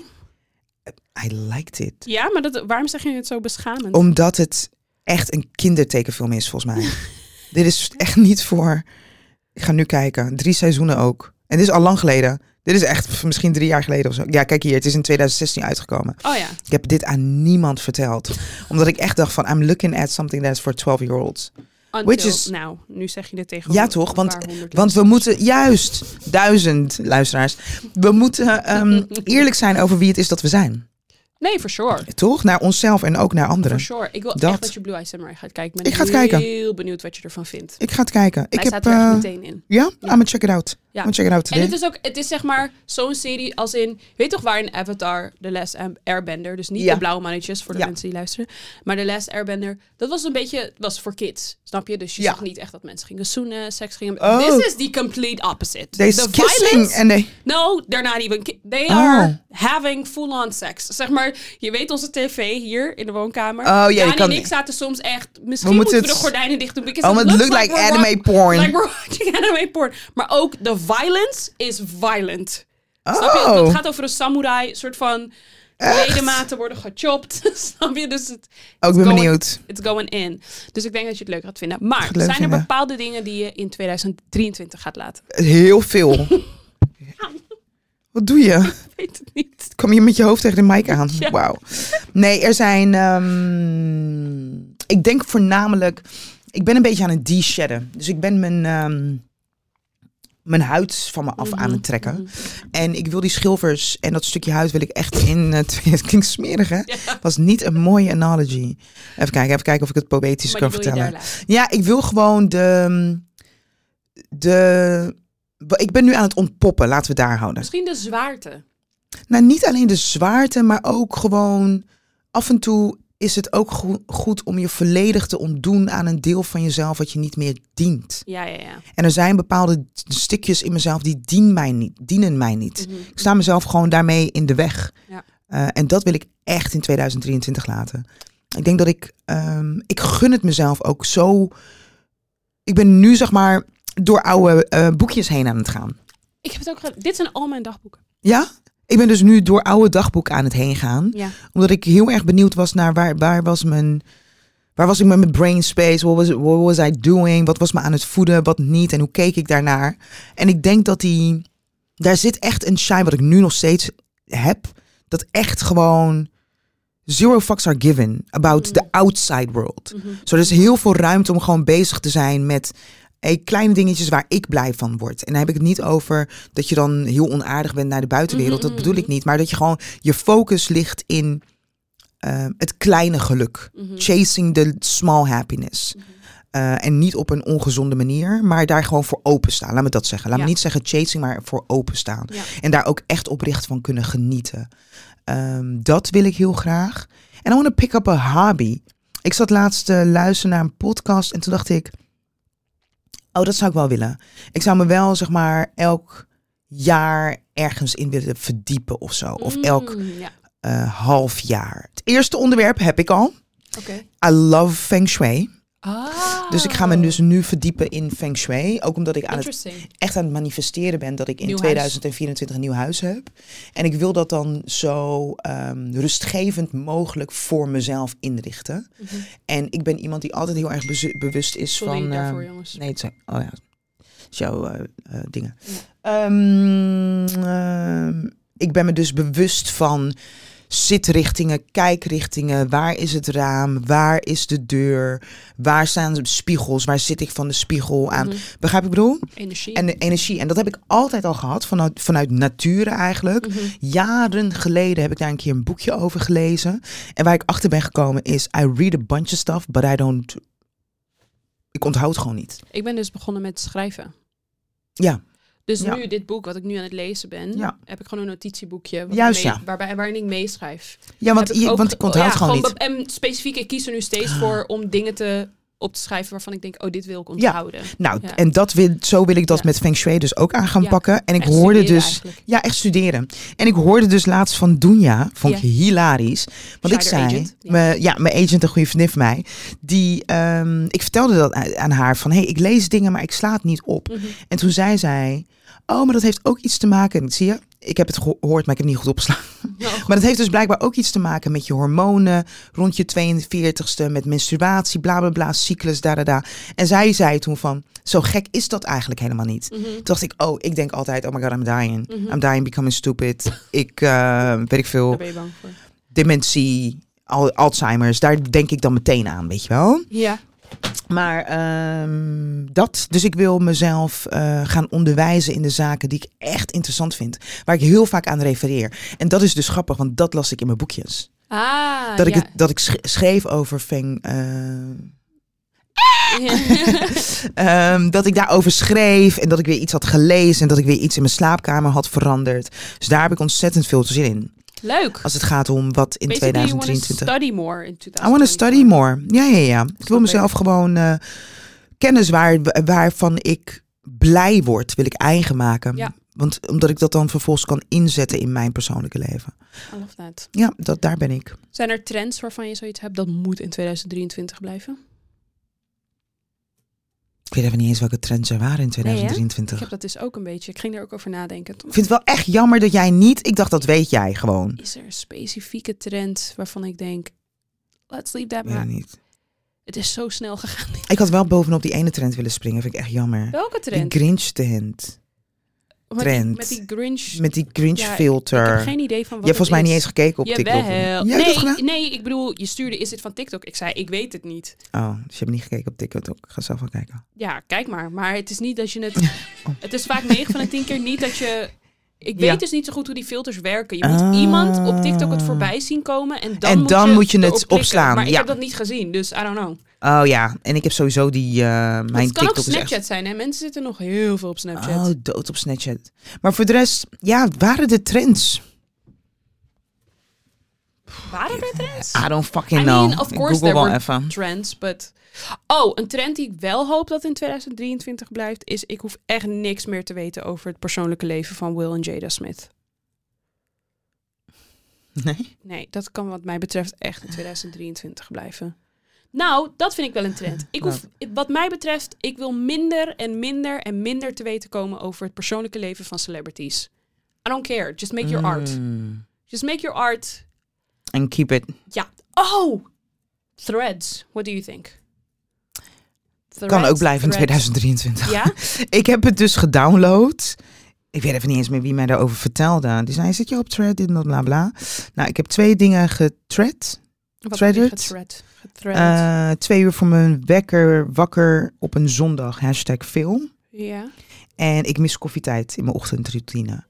I liked it.
Ja, maar dat, waarom zeg je het zo beschamend?
Omdat het echt een kindertekenfilm is, volgens mij. dit is echt niet voor... Ik ga nu kijken. Drie seizoenen ook. En dit is al lang geleden. Dit is echt pff, misschien drie jaar geleden of zo. Ja, kijk hier. Het is in 2016 uitgekomen.
Oh ja.
Ik heb dit aan niemand verteld. Omdat ik echt dacht van... I'm looking at something that's for 12-year-olds.
Until,
Which is-
nou, nu zeg je dit tegen
Ja,
een
toch? Want-
paar honderd
Want we moeten... Juist, duizend luisteraars. We moeten ehm, eerlijk zijn over wie het is dat we zijn.
mensen. Nee, for sure.
Toch? Naar onszelf en ook naar
For
anderen.
sure. Ik wil
Dat.
echt dat je Blue Eye Samurai gaat kijken.
Ik ga het
ben
kijken.
heel benieuwd wat je ervan vindt.
Ik ga het kijken. Ik
Hij
heb...
staat er echt
eh,
meteen in.
ja? I'm gonna check it out.
Ja.
I'm gonna check it out
En
today.
het is ook, het is zeg maar zo'n serie als in, je weet toch waar in Avatar, The Last Am- Airbender, dus niet
Ja.
de blauwe mannetjes voor de
Ja.
mensen die luisteren, maar The Last Airbender, dat was een beetje, was voor kids, snap je? Dus je
Ja.
zag niet echt dat mensen gingen zoenen, seks gingen.
Oh.
This is the complete opposite.
They
the
kissing en they...
No, they're not even. ki- They
Oh.
are having full-on sex. Zeg maar, je weet onze tv hier in de woonkamer.
Oh, ja, je
Daan
kan-
en ik zaten soms echt. Misschien
We moeten
moeten we
het-
de gordijnen dicht doen. because
Oh, maar het looks like
we're
anime
wa-
porn.
Like we're watching anime porn. Maar ook de violence is violent. Snap je?
Oh.
Het gaat over een samurai, soort van ledematen worden gechopt. Snap je? Dus het,
Oh, ik ben
going-
benieuwd.
It's going in. Dus ik denk dat je het leuk gaat vinden. Maar
het leuk
zijn er
vinden.
bepaalde dingen die je in 2023 gaat laten?
Heel veel. Wat doe je?
Ik weet het niet.
Kom je met je hoofd tegen de mic aan?
Ja.
Wauw. Nee, er zijn... ehm, ik denk voornamelijk... Ik ben een beetje aan het de-shadden. Dus ik ben mijn, ehm, mijn huid van me af aan
Mhm.
het trekken. En ik wil die schilfers en dat stukje huid wil ik echt in... Het, het klinkt smerig, hè? Was niet een mooie analogy. Even kijken, even kijken of ik het poëtisch
Maar
kan
die wil je
vertellen.
daar laten.
Ja, ik wil gewoon de. de ik ben nu aan het ontpoppen, laten we daar houden.
Misschien de zwaarte.
Nou, niet alleen de zwaarte, maar ook gewoon. Af en toe is het ook go- goed om je volledig te ontdoen aan een deel van jezelf wat je niet meer dient.
Ja, ja, ja.
En er zijn bepaalde t- stukjes in mezelf die dien mij niet, dienen mij niet.
Mhm.
Ik sta mezelf gewoon daarmee in de weg.
Ja.
Eh, en dat wil ik echt in 2023 laten. Ik denk dat ik, ehm, ik gun het mezelf ook zo. Ik ben nu zeg maar door oude eh, boekjes heen aan het gaan.
Ik heb het ook gedaan. Dit zijn al mijn dagboeken.
Ja? Ik ben dus nu door oude dagboeken aan het heen gaan.
Ja.
Omdat ik heel erg benieuwd was naar waar, waar was mijn... Waar was ik met mijn brain space? What was, what was I doing? Wat was me aan het voeden? Wat niet? En hoe keek ik daarnaar? En ik denk dat die... Daar zit echt een shine wat ik nu nog steeds heb. Dat echt gewoon... Zero fucks are given about
Mhm.
the outside world. Zo, er is heel veel ruimte om gewoon bezig te zijn met eh, kleine dingetjes waar ik blij van word. En dan heb ik het niet over dat je dan heel onaardig bent naar de buitenwereld.
Mhm.
Dat bedoel ik niet. Maar dat je gewoon je focus ligt in ehm, het kleine geluk.
Mhm.
Chasing the small happiness. Eh, en niet op een ongezonde manier, maar daar gewoon voor openstaan. Laat me dat zeggen. Laat
Ja.
me niet zeggen chasing, maar voor openstaan.
Ja.
En daar ook echt oprecht van kunnen genieten. Ehm, dat wil ik heel graag. En I want to pick up a hobby. Ik zat laatst te luisteren naar een podcast en toen dacht ik... Oh, dat zou ik wel willen. Ik zou me wel, zeg maar, elk jaar ergens in willen verdiepen of zo. Of elk
Mm, Ja,
eh, half jaar. Het eerste onderwerp heb ik al.
oké.
I love feng shui.
Ah.
Dus ik ga me dus nu verdiepen in feng shui. Ook omdat ik aan het,
Interesting.
echt aan het manifesteren ben dat ik in
Nieuw huis.
2024 een nieuw huis heb. En ik wil dat dan zo ehm, rustgevend mogelijk voor mezelf inrichten. En ik ben iemand die altijd heel erg bezu- bewust is
Sorry
Mhm. van...
daarvoor,
ehm,
jongens. Mhm.
Nee, het zijn... Oh ja, het is jouw eh, eh, dingen. Ehm, ehm, ik ben me dus bewust van zitrichtingen, kijkrichtingen. Waar is het raam? Waar is de deur? Waar staan de spiegels? Waar zit ik van de spiegel
Mhm.
aan? Begrijp ik bedoel?
Energie.
En de energie. En dat heb ik altijd al gehad, vanuit, vanuit nature eigenlijk.
Mhm.
Jaren geleden heb ik daar een keer een boekje over gelezen. En waar ik achter ben gekomen is, I read a bunch of stuff, but I don't... Ik onthoud gewoon niet.
Ik ben dus begonnen met schrijven.
Ja.
Dus
Ja.
nu, dit boek wat ik nu aan het lezen ben,
Ja.
heb ik gewoon een notitieboekje. Wat
Juist,
ik mee-
ja.
Waarbij, waarin ik meeschrijf.
Ja, want,
Heb ik
je,
ook
want
ge- oh
ik onthoud
ja,
gewoon niet. Ah.
be- En specifiek, ik kies er nu steeds voor om dingen te, op te schrijven waarvan ik denk, oh, dit wil ik onthouden.
Nou,
Ja.
en dat wil, zo wil ik dat
Ja.
met Feng Shui dus ook aan gaan
Ja,
pakken. En ik
echt
hoorde
studeren
dus...
eigenlijk.
Ja, echt studeren. En ik hoorde dus laatst van Dunja, vond ik
Ja.
hilarisch. Want ik
Zij,
zei...
haar agent? Ja.
mijn- ja, mijn agent, een goede vriendin van mij. Die, ehm, ik vertelde dat aan- aan haar van... hey, ik lees dingen, maar ik sla het niet op.
Mhm.
En toen zei zij... Oh, maar dat heeft ook iets te maken... Zie je, ik heb het gehoord, maar ik heb het niet goed opgeslagen.
Nou,
Maar dat heeft dus blijkbaar ook iets te maken met je hormonen, rond je 42ste, met menstruatie, bla bla bla, cyclus, da da da. En zij zei toen van, zo gek is dat eigenlijk helemaal niet. Toen dacht ik, oh, ik denk altijd, oh my god, I'm dying. I'm dying, becoming stupid. Ik, eh, weet ik
daar
veel,
ben je bang voor.
dementie, al- Alzheimer's, daar denk ik dan meteen aan, weet je wel.
Ja.
Maar ehm, dat, dus ik wil mezelf eh, gaan onderwijzen in de zaken die ik echt interessant vind. Waar ik heel vaak aan refereer. En dat is dus grappig, want dat las ik in mijn boekjes
Ah,
dat,
ja.
ik het, dat ik sch- schreef over Feng. eh, ehm, dat ik daarover schreef en dat ik weer iets had gelezen en dat ik weer iets in mijn slaapkamer had veranderd. Dus daar heb ik ontzettend veel zin in.
Leuk.
Als het gaat om wat in
Basically, you wanna
2023.
study more in 2023.
I want to study more. Ja, ja, ja. Ik wil mezelf gewoon eh, kennis waar, waarvan ik blij word, wil ik eigen maken.
Ja.
Want omdat ik dat dan vervolgens kan inzetten in mijn persoonlijke leven.
I love that.
Ja, dat, daar ben ik.
Zijn er trends waarvan je zoiets hebt dat moet in 2023 blijven?
Ik weet even niet eens welke trends er waren in
hè?
2023.
Ik heb dat dus ook een beetje. Ik ging er ook over nadenken. Toen
Ik vind het wel echt jammer dat jij niet. Ik dacht, dat weet jij gewoon.
Is er een specifieke trend waarvan ik denk, let's leave that.
Ja,
Maar
niet.
het is zo snel gegaan.
Ik had wel bovenop die ene trend willen springen. Vind ik echt jammer.
Welke
Die
trend?
Grinch trend.
Met die-
trend.
Met die Grinch.
Met die Grinch
Ja,
filter.
Ik
Je
heb
hebt
geen idee van wat het
volgens mij niet
is.
eens gekeken op TikTok.
Jawel.
Jij hebt dat gedaan?
nee, nee, ik bedoel, je stuurde, is dit van TikTok? Ik zei, ik weet het niet.
Oh, dus je hebt niet gekeken op TikTok. Ik ga zelf wel kijken.
Ja, kijk maar. Maar het is niet dat je het... Het is vaak 9 van de 10 keer niet dat je... Ik weet
Ja.
dus niet zo goed hoe die filters werken. Je moet
Ah.
iemand op TikTok het voorbij zien komen en dan,
En dan moet je het
erop klikken.
opslaan,
Maar ik
ja.
heb dat niet gezien, dus I don't know.
Oh ja, en ik heb sowieso die. eh, mijn
het kan
TikTok
ook
is
Snapchat
echt.
zijn, hè? Mensen zitten nog heel veel op Snapchat.
Oh, dood op Snapchat. Maar voor de rest, ja, waren de trends? Oh,
Waren er trends?
I don't fucking
I
know.
mean, of
Ik
course
Google
there
wel
were
even.
Trends, but... Oh, een trend die ik wel hoop dat in 2023 blijft... is ik hoef echt niks meer te weten over het persoonlijke leven van Will en Jada Smith.
Nee.
Nee, dat kan wat mij betreft echt in 2023 blijven. Nou, dat vind ik wel een trend. Ik hoef,
Nou.
wat mij betreft, ik wil minder en minder en minder te weten komen over het persoonlijke leven van celebrities. I don't care. Just make your art.
Mm.
Just make your art.
And keep it.
Ja. Oh! Threads. What do you think?
Kan
Threads,
ook blijven in
threads.
2023.
Ja?
Ik heb het dus gedownload. Ik weet even niet eens meer wie mij daarover vertelde. Die zei, zit je op thread, dit en dat, bla bla. Nou, ik heb twee dingen gethread.
Wat heb je
Threaded?
gethread? Gethread.
Eh, twee uur voor mijn wekker, wakker op een zondag, hashtag film.
ja.
En ik mis koffietijd in mijn ochtendroutine.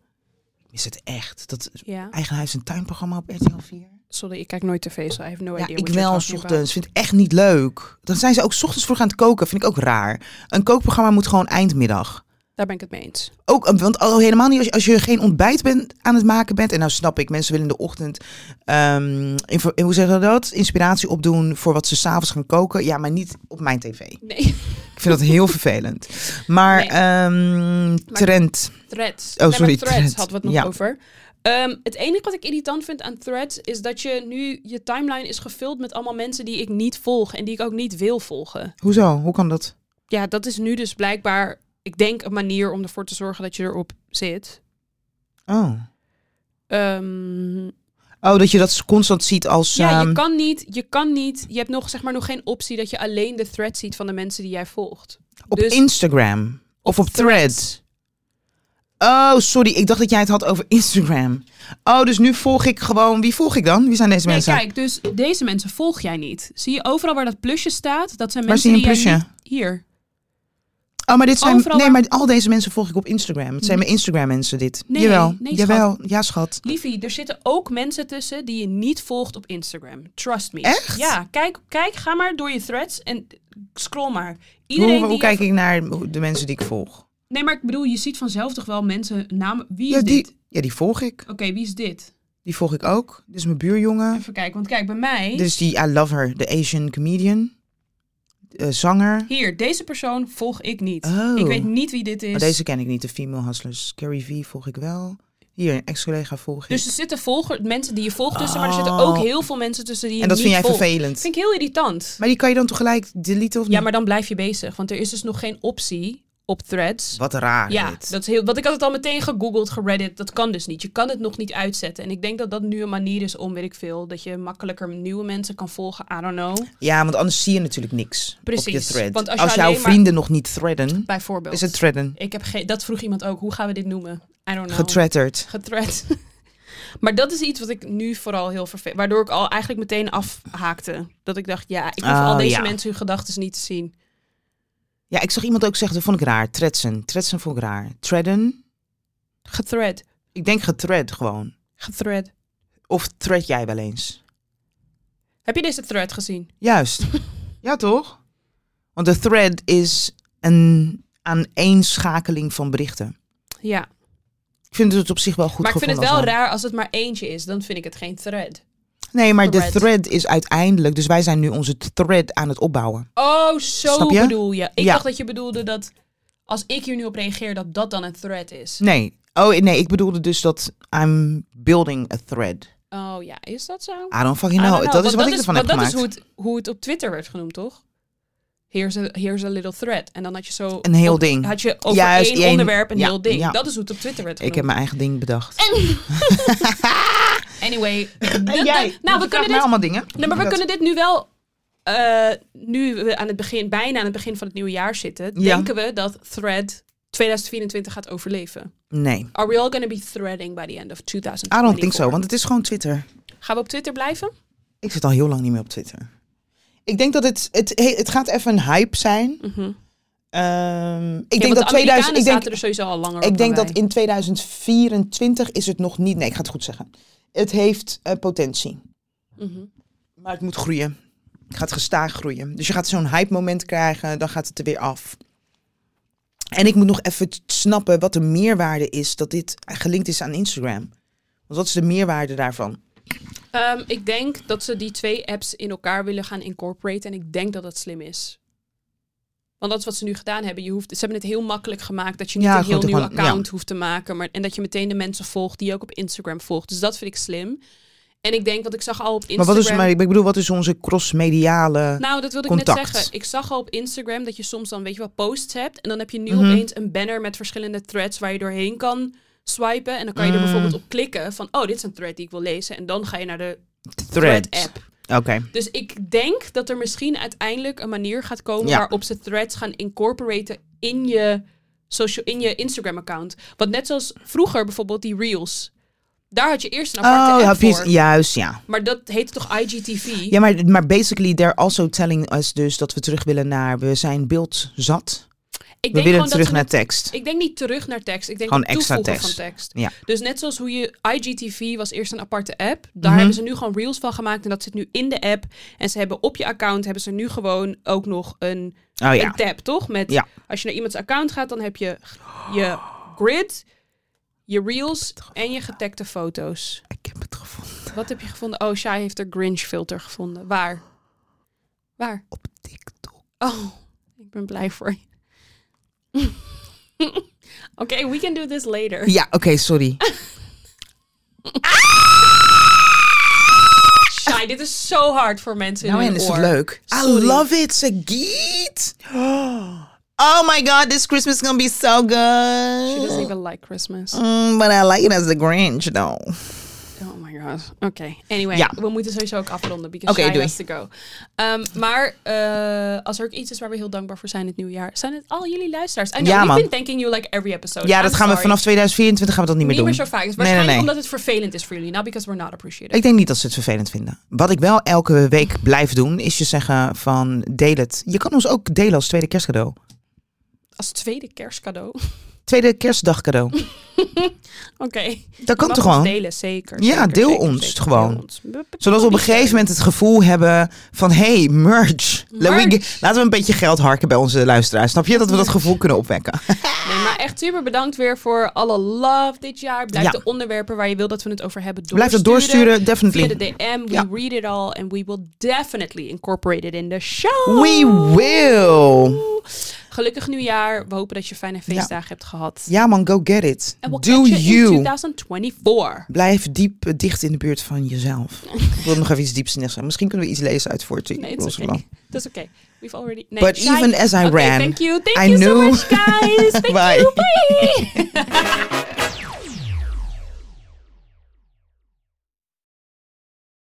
Ik mis het echt. Dat
Ja.
eigen huis- en tuinprogramma op RTL 4.
Sorry, ik kijk nooit tv, so I have no
Ja,
idea
ik
what you're
wel,
talking
s
about.
ochtends. Vind ik echt niet leuk. Dan zijn ze ook s ochtends voor gaan koken. Vind ik ook raar. Een kookprogramma moet gewoon eindmiddag.
Daar ben ik het mee eens.
Ook, eh, want al helemaal niet als je, als je geen ontbijt bent, aan het maken bent. En nou snap ik, mensen willen in de ochtend, ehm, info- hoe zeggen we dat? Inspiratie opdoen voor wat ze s'avonds gaan koken. Ja, maar niet op mijn tv.
Nee.
Ik vind dat heel vervelend. Maar
Nee.
ehm, trend,
Threads.
Oh, sorry,
threads,
threads.
hadden we het nog
Ja.
over. Ehm, het enige wat ik irritant vind aan threads is dat je nu je timeline is gevuld met allemaal mensen die ik niet volg en die ik ook niet wil volgen.
hoezo? Hoe kan dat?
Ja, dat is nu dus blijkbaar, ik denk, een manier om ervoor te zorgen dat je erop zit.
Oh.
Ehm,
Oh, dat je dat constant ziet als...
ja, je
ehm,
kan niet, je kan niet, je hebt nog zeg maar nog geen optie dat je alleen de threads ziet van de mensen die jij volgt.
Op
dus-
Instagram. Of op Threads. Oh, sorry. Ik dacht dat jij het had over Instagram. Oh, dus nu volg ik gewoon... Wie volg ik dan? Wie zijn deze
Nee,
mensen?
kijk, dus deze mensen volg jij niet. Zie je overal waar dat plusje staat, dat zijn
Waar
mensen
zie je een
die jij
plusje?
niet- hier.
Oh, maar dit zijn.
Overal
nee,
waar- Mm.
maar al deze mensen volg ik op Instagram. Het zijn mijn Instagram-mensen, dit.
Nee,
jawel,
nee, schat.
jawel. Ja, schat.
Liefie, er zitten ook mensen tussen die je niet volgt op Instagram. Trust me.
Echt?
Ja, kijk, kijk ga maar door je threads en scroll maar.
Hoe,
Iedereen
hoe
die
kijk ik naar de mensen die ik volg?
Nee, maar ik bedoel, je ziet vanzelf toch wel mensen namen. Wie is
Ja
dit?
die, ja, die volg ik.
Oké, wie is dit?
Die volg ik ook. Dit is mijn buurjongen.
Even kijken, want kijk, bij mij...
Dit is die I Love Her, de Asian comedian. Eh, zanger.
Hier, deze persoon volg ik niet.
Oh.
Ik weet niet wie dit is.
Maar deze ken ik niet, de female hustlers. Carrie V volg ik wel. Hier, een ex-collega volg ik.
Dus er zitten volger, mensen die je volgt tussen, maar er zitten ook
Oh.
heel veel mensen tussen die je
en dat
niet
vind jij
volgt.
vervelend.
Dat vind ik heel irritant.
Maar die kan je dan tegelijk deleten of niet?
Ja, maar dan blijf je bezig, want er is dus nog geen optie op threads.
Wat raar
Ja,
dit.
dat is heel. Want ik had het al meteen gegoogeld, gereddit. Dat kan dus niet. Je kan het nog niet uitzetten. En ik denk dat dat nu een manier is om, weet ik veel, dat je makkelijker nieuwe mensen kan volgen. I don't know.
Ja, want anders zie je natuurlijk niks op je
Precies,
thread.
want als
als
je
jouw
alleen maar-
vrienden nog niet threaden,
Bijvoorbeeld.
is het threaden.
ik heb geen. Dat vroeg iemand ook. Hoe gaan we dit noemen? I don't know.
Getretterd.
Getred. maar dat is iets wat ik nu vooral heel vervelend. Waardoor ik al eigenlijk meteen afhaakte. Dat ik dacht, ja, ik hoef
Oh,
al deze
ja.
mensen hun gedachten niet te zien.
Ja, ik zag iemand ook zeggen, dat vond ik raar. Tretsen. Tretsen vond ik raar. Threaden?
Gethread.
Ik denk getred gewoon.
Gethread.
Of thread jij wel eens?
Heb je deze thread gezien?
Juist. ja, toch? Want de thread is een aaneenschakeling van berichten.
Ja.
Ik vind het op zich wel goed
maar ik vind het
gevonden
wel
als naam.
raar als het maar eentje is. Dan vind ik het geen thread.
Nee, maar
Thread.
de thread is uiteindelijk... Dus wij zijn nu onze thread aan het opbouwen.
Oh, zo
Snap je?
bedoel je. Ik
Ja.
dacht dat je bedoelde dat als ik hier nu op reageer, dat dat dan een thread is.
Nee. Oh, nee, ik bedoelde dus dat I'm building a thread.
Oh ja, is dat zo?
I don't fucking
I
know.
don't know,
Dat is
want
wat ik ervan heb
want
gemaakt.
Dat is hoe het, hoe het op Twitter werd genoemd, toch? Here's a, here's a little thread. En dan had je zo...
Een heel
op-
ding.
Had je over
Juist,
één
één-
onderwerp een
ja,
heel ding.
ja.
Dat is hoe het op Twitter
Ik
werd genoemd.
heb mijn eigen ding bedacht.
Anyway.
En jij?
dat- dat- nou, we
Je vraagt
kunnen
mij
dit...
allemaal dingen.
Nee, maar we
Dat-
kunnen dit nu wel... eh, nu we aan het begin, bijna aan het begin van het nieuwe jaar zitten...
Ja.
denken we dat Thread 2024 gaat overleven.
Nee,
Are we all gonna be threading by the end of 2024?
I don't think so, want het is gewoon Twitter.
Gaan we op Twitter blijven?
Ik zit al heel lang niet meer op Twitter. Ik denk dat het... Het, he- het gaat even een hype
Mhm.
zijn. Ehm, ik denk dat 2000... Ik denk,
zaten er sowieso al langer op
ik denk
dan
dat
wij.
in 2024 is het nog niet... Nee, ik ga het goed zeggen. Het heeft eh, potentie.
Mhm.
Maar het moet groeien. Het gaat gestaag groeien. Dus je gaat zo'n hype moment krijgen, dan gaat het er weer af. En ik moet nog even t- snappen wat de meerwaarde is dat dit gelinkt is aan Instagram. Want wat is de meerwaarde daarvan?
Ehm, ik denk dat ze die twee apps in elkaar willen gaan incorporeren. En ik denk dat dat slim is. Want dat is wat ze nu gedaan hebben. Je hoeft, ze hebben het heel makkelijk gemaakt dat je niet
Ja,
een heel
goed,
nieuw
gewoon- ja.
account hoeft te maken. Maar, en dat je meteen de mensen volgt die je ook op Instagram volgt. Dus dat vind ik slim. En ik denk, wat ik zag al op Instagram...
Maar, wat is, maar ik bedoel, wat is onze crossmediale...
Nou, dat wilde ik net
Contact.
zeggen. Ik zag al op Instagram dat je soms dan, weet je wel, posts hebt. En dan heb je nu
Mhm.
opeens een banner met verschillende threads waar je doorheen kan swipen. En dan kan je er
Mm.
bijvoorbeeld op klikken van, oh, dit is een thread die ik wil lezen. En dan ga je naar de
thread.
thread-app.
Oké.
Dus ik denk dat er misschien uiteindelijk een manier gaat komen
Ja.
waarop ze threads gaan incorporeren in je, social, in je Instagram-account. Want net zoals vroeger bijvoorbeeld die reels. Daar had je eerst een aparte
Oh,
app
heb je-
voor.
juist, ja.
Maar dat heette toch IGTV?
Ja, maar, maar basically, they're also telling us dus dat we terug willen naar... We zijn beeld zat.
ik
We
denk
willen
gewoon
terug
dat
naar
ze
tekst.
Ik denk niet terug naar tekst. Ik denk
Gewoon
gewoon
extra
toevoegen
tekst.
van tekst.
Ja.
Dus net zoals hoe je IGTV was eerst een aparte app. Daar
Mhm.
hebben ze nu gewoon reels van gemaakt. En dat zit nu in de app. En ze hebben op je account hebben ze nu gewoon ook nog een,
Oh
een
ja.
tab, toch? Met
Ja.
als je naar iemands account gaat, dan heb je g- je grid, je reels en je getagde foto's.
Ik heb het gevonden
Wat heb je gevonden? Oh, Shai heeft er Grinch filter gevonden. Waar? Waar?
op TikTok.
Oh, ik ben blij voor je. Oké, we can do this later.
Ja, oké, sorry.
Shai, dit is zo hard voor mensen in
Nou
hun
en is
oor.
het leuk. I
Sorry.
love it, Sagiet. Oh my god, this Christmas is gonna be so
She doesn't
good.
even like Christmas.
Mm, but I like it as the Grinch, though.
Oh my god. Oké. Anyway,
Ja.
we moeten sowieso ook afronden. Because
Oké,
Shai
doei.
has to go. Ehm, maar eh, als er ook iets is waar we heel dankbaar voor zijn in het nieuwjaar, zijn het al jullie luisteraars. I know,
Ja,
we've
man.
been thanking you like every episode.
Ja,
I'm
dat gaan we
sorry.
vanaf 2024 gaan we dat niet meer
Niet
doen.
meer zo vaak. Dus
Nee, nee,
waarschijnlijk
nee.
omdat het vervelend is voor jullie. Not because we're not appreciated.
Ik denk niet dat ze het vervelend vinden. Wat ik wel elke week blijf doen, is je zeggen van deel het. Je kan ons ook delen als tweede kerstcadeau.
Als tweede kerstcadeau.
tweede kerstdag cadeau.
Oké.
Dat kan toch
Mag ons
gewoon?
Delen, zeker.
Ja,
zeker,
deel
zeker,
ons
zeker,
gewoon.
deel ons. We- we-
Zodat we op een gegeven moment het gevoel hebben van... hé, hey, merch. Laten we-
Merch.
Laten we een beetje geld harken bij onze luisteraars. Snap je? Dat we dat gevoel kunnen opwekken.
Nee, maar echt super bedankt weer voor alle love dit jaar. Blijf
Ja.
de onderwerpen waar je wil dat we het over hebben doorsturen.
Blijf dat doorsturen,
Via
definitely.
de DM, we
Ja.
read it all and we will definitely incorporate it in the show.
We will.
Gelukkig nieuwjaar. We hopen dat je fijne feestdagen hebt gehad.
Ja man, go get it.
En we'll
Do
catch you, in
you.
2024.
Blijf diep eh, dicht in de buurt van jezelf. Ik wil nog even iets dieps zeggen. Misschien kunnen we iets lezen uit Forte.
Nee, it's okay. That's okay. We've already. Nee,
But
Shai-
even as I
Okay,
ran,
thank you. Thank
I
you so
knew-
much, guys. Thank
Bye.
you. Bye.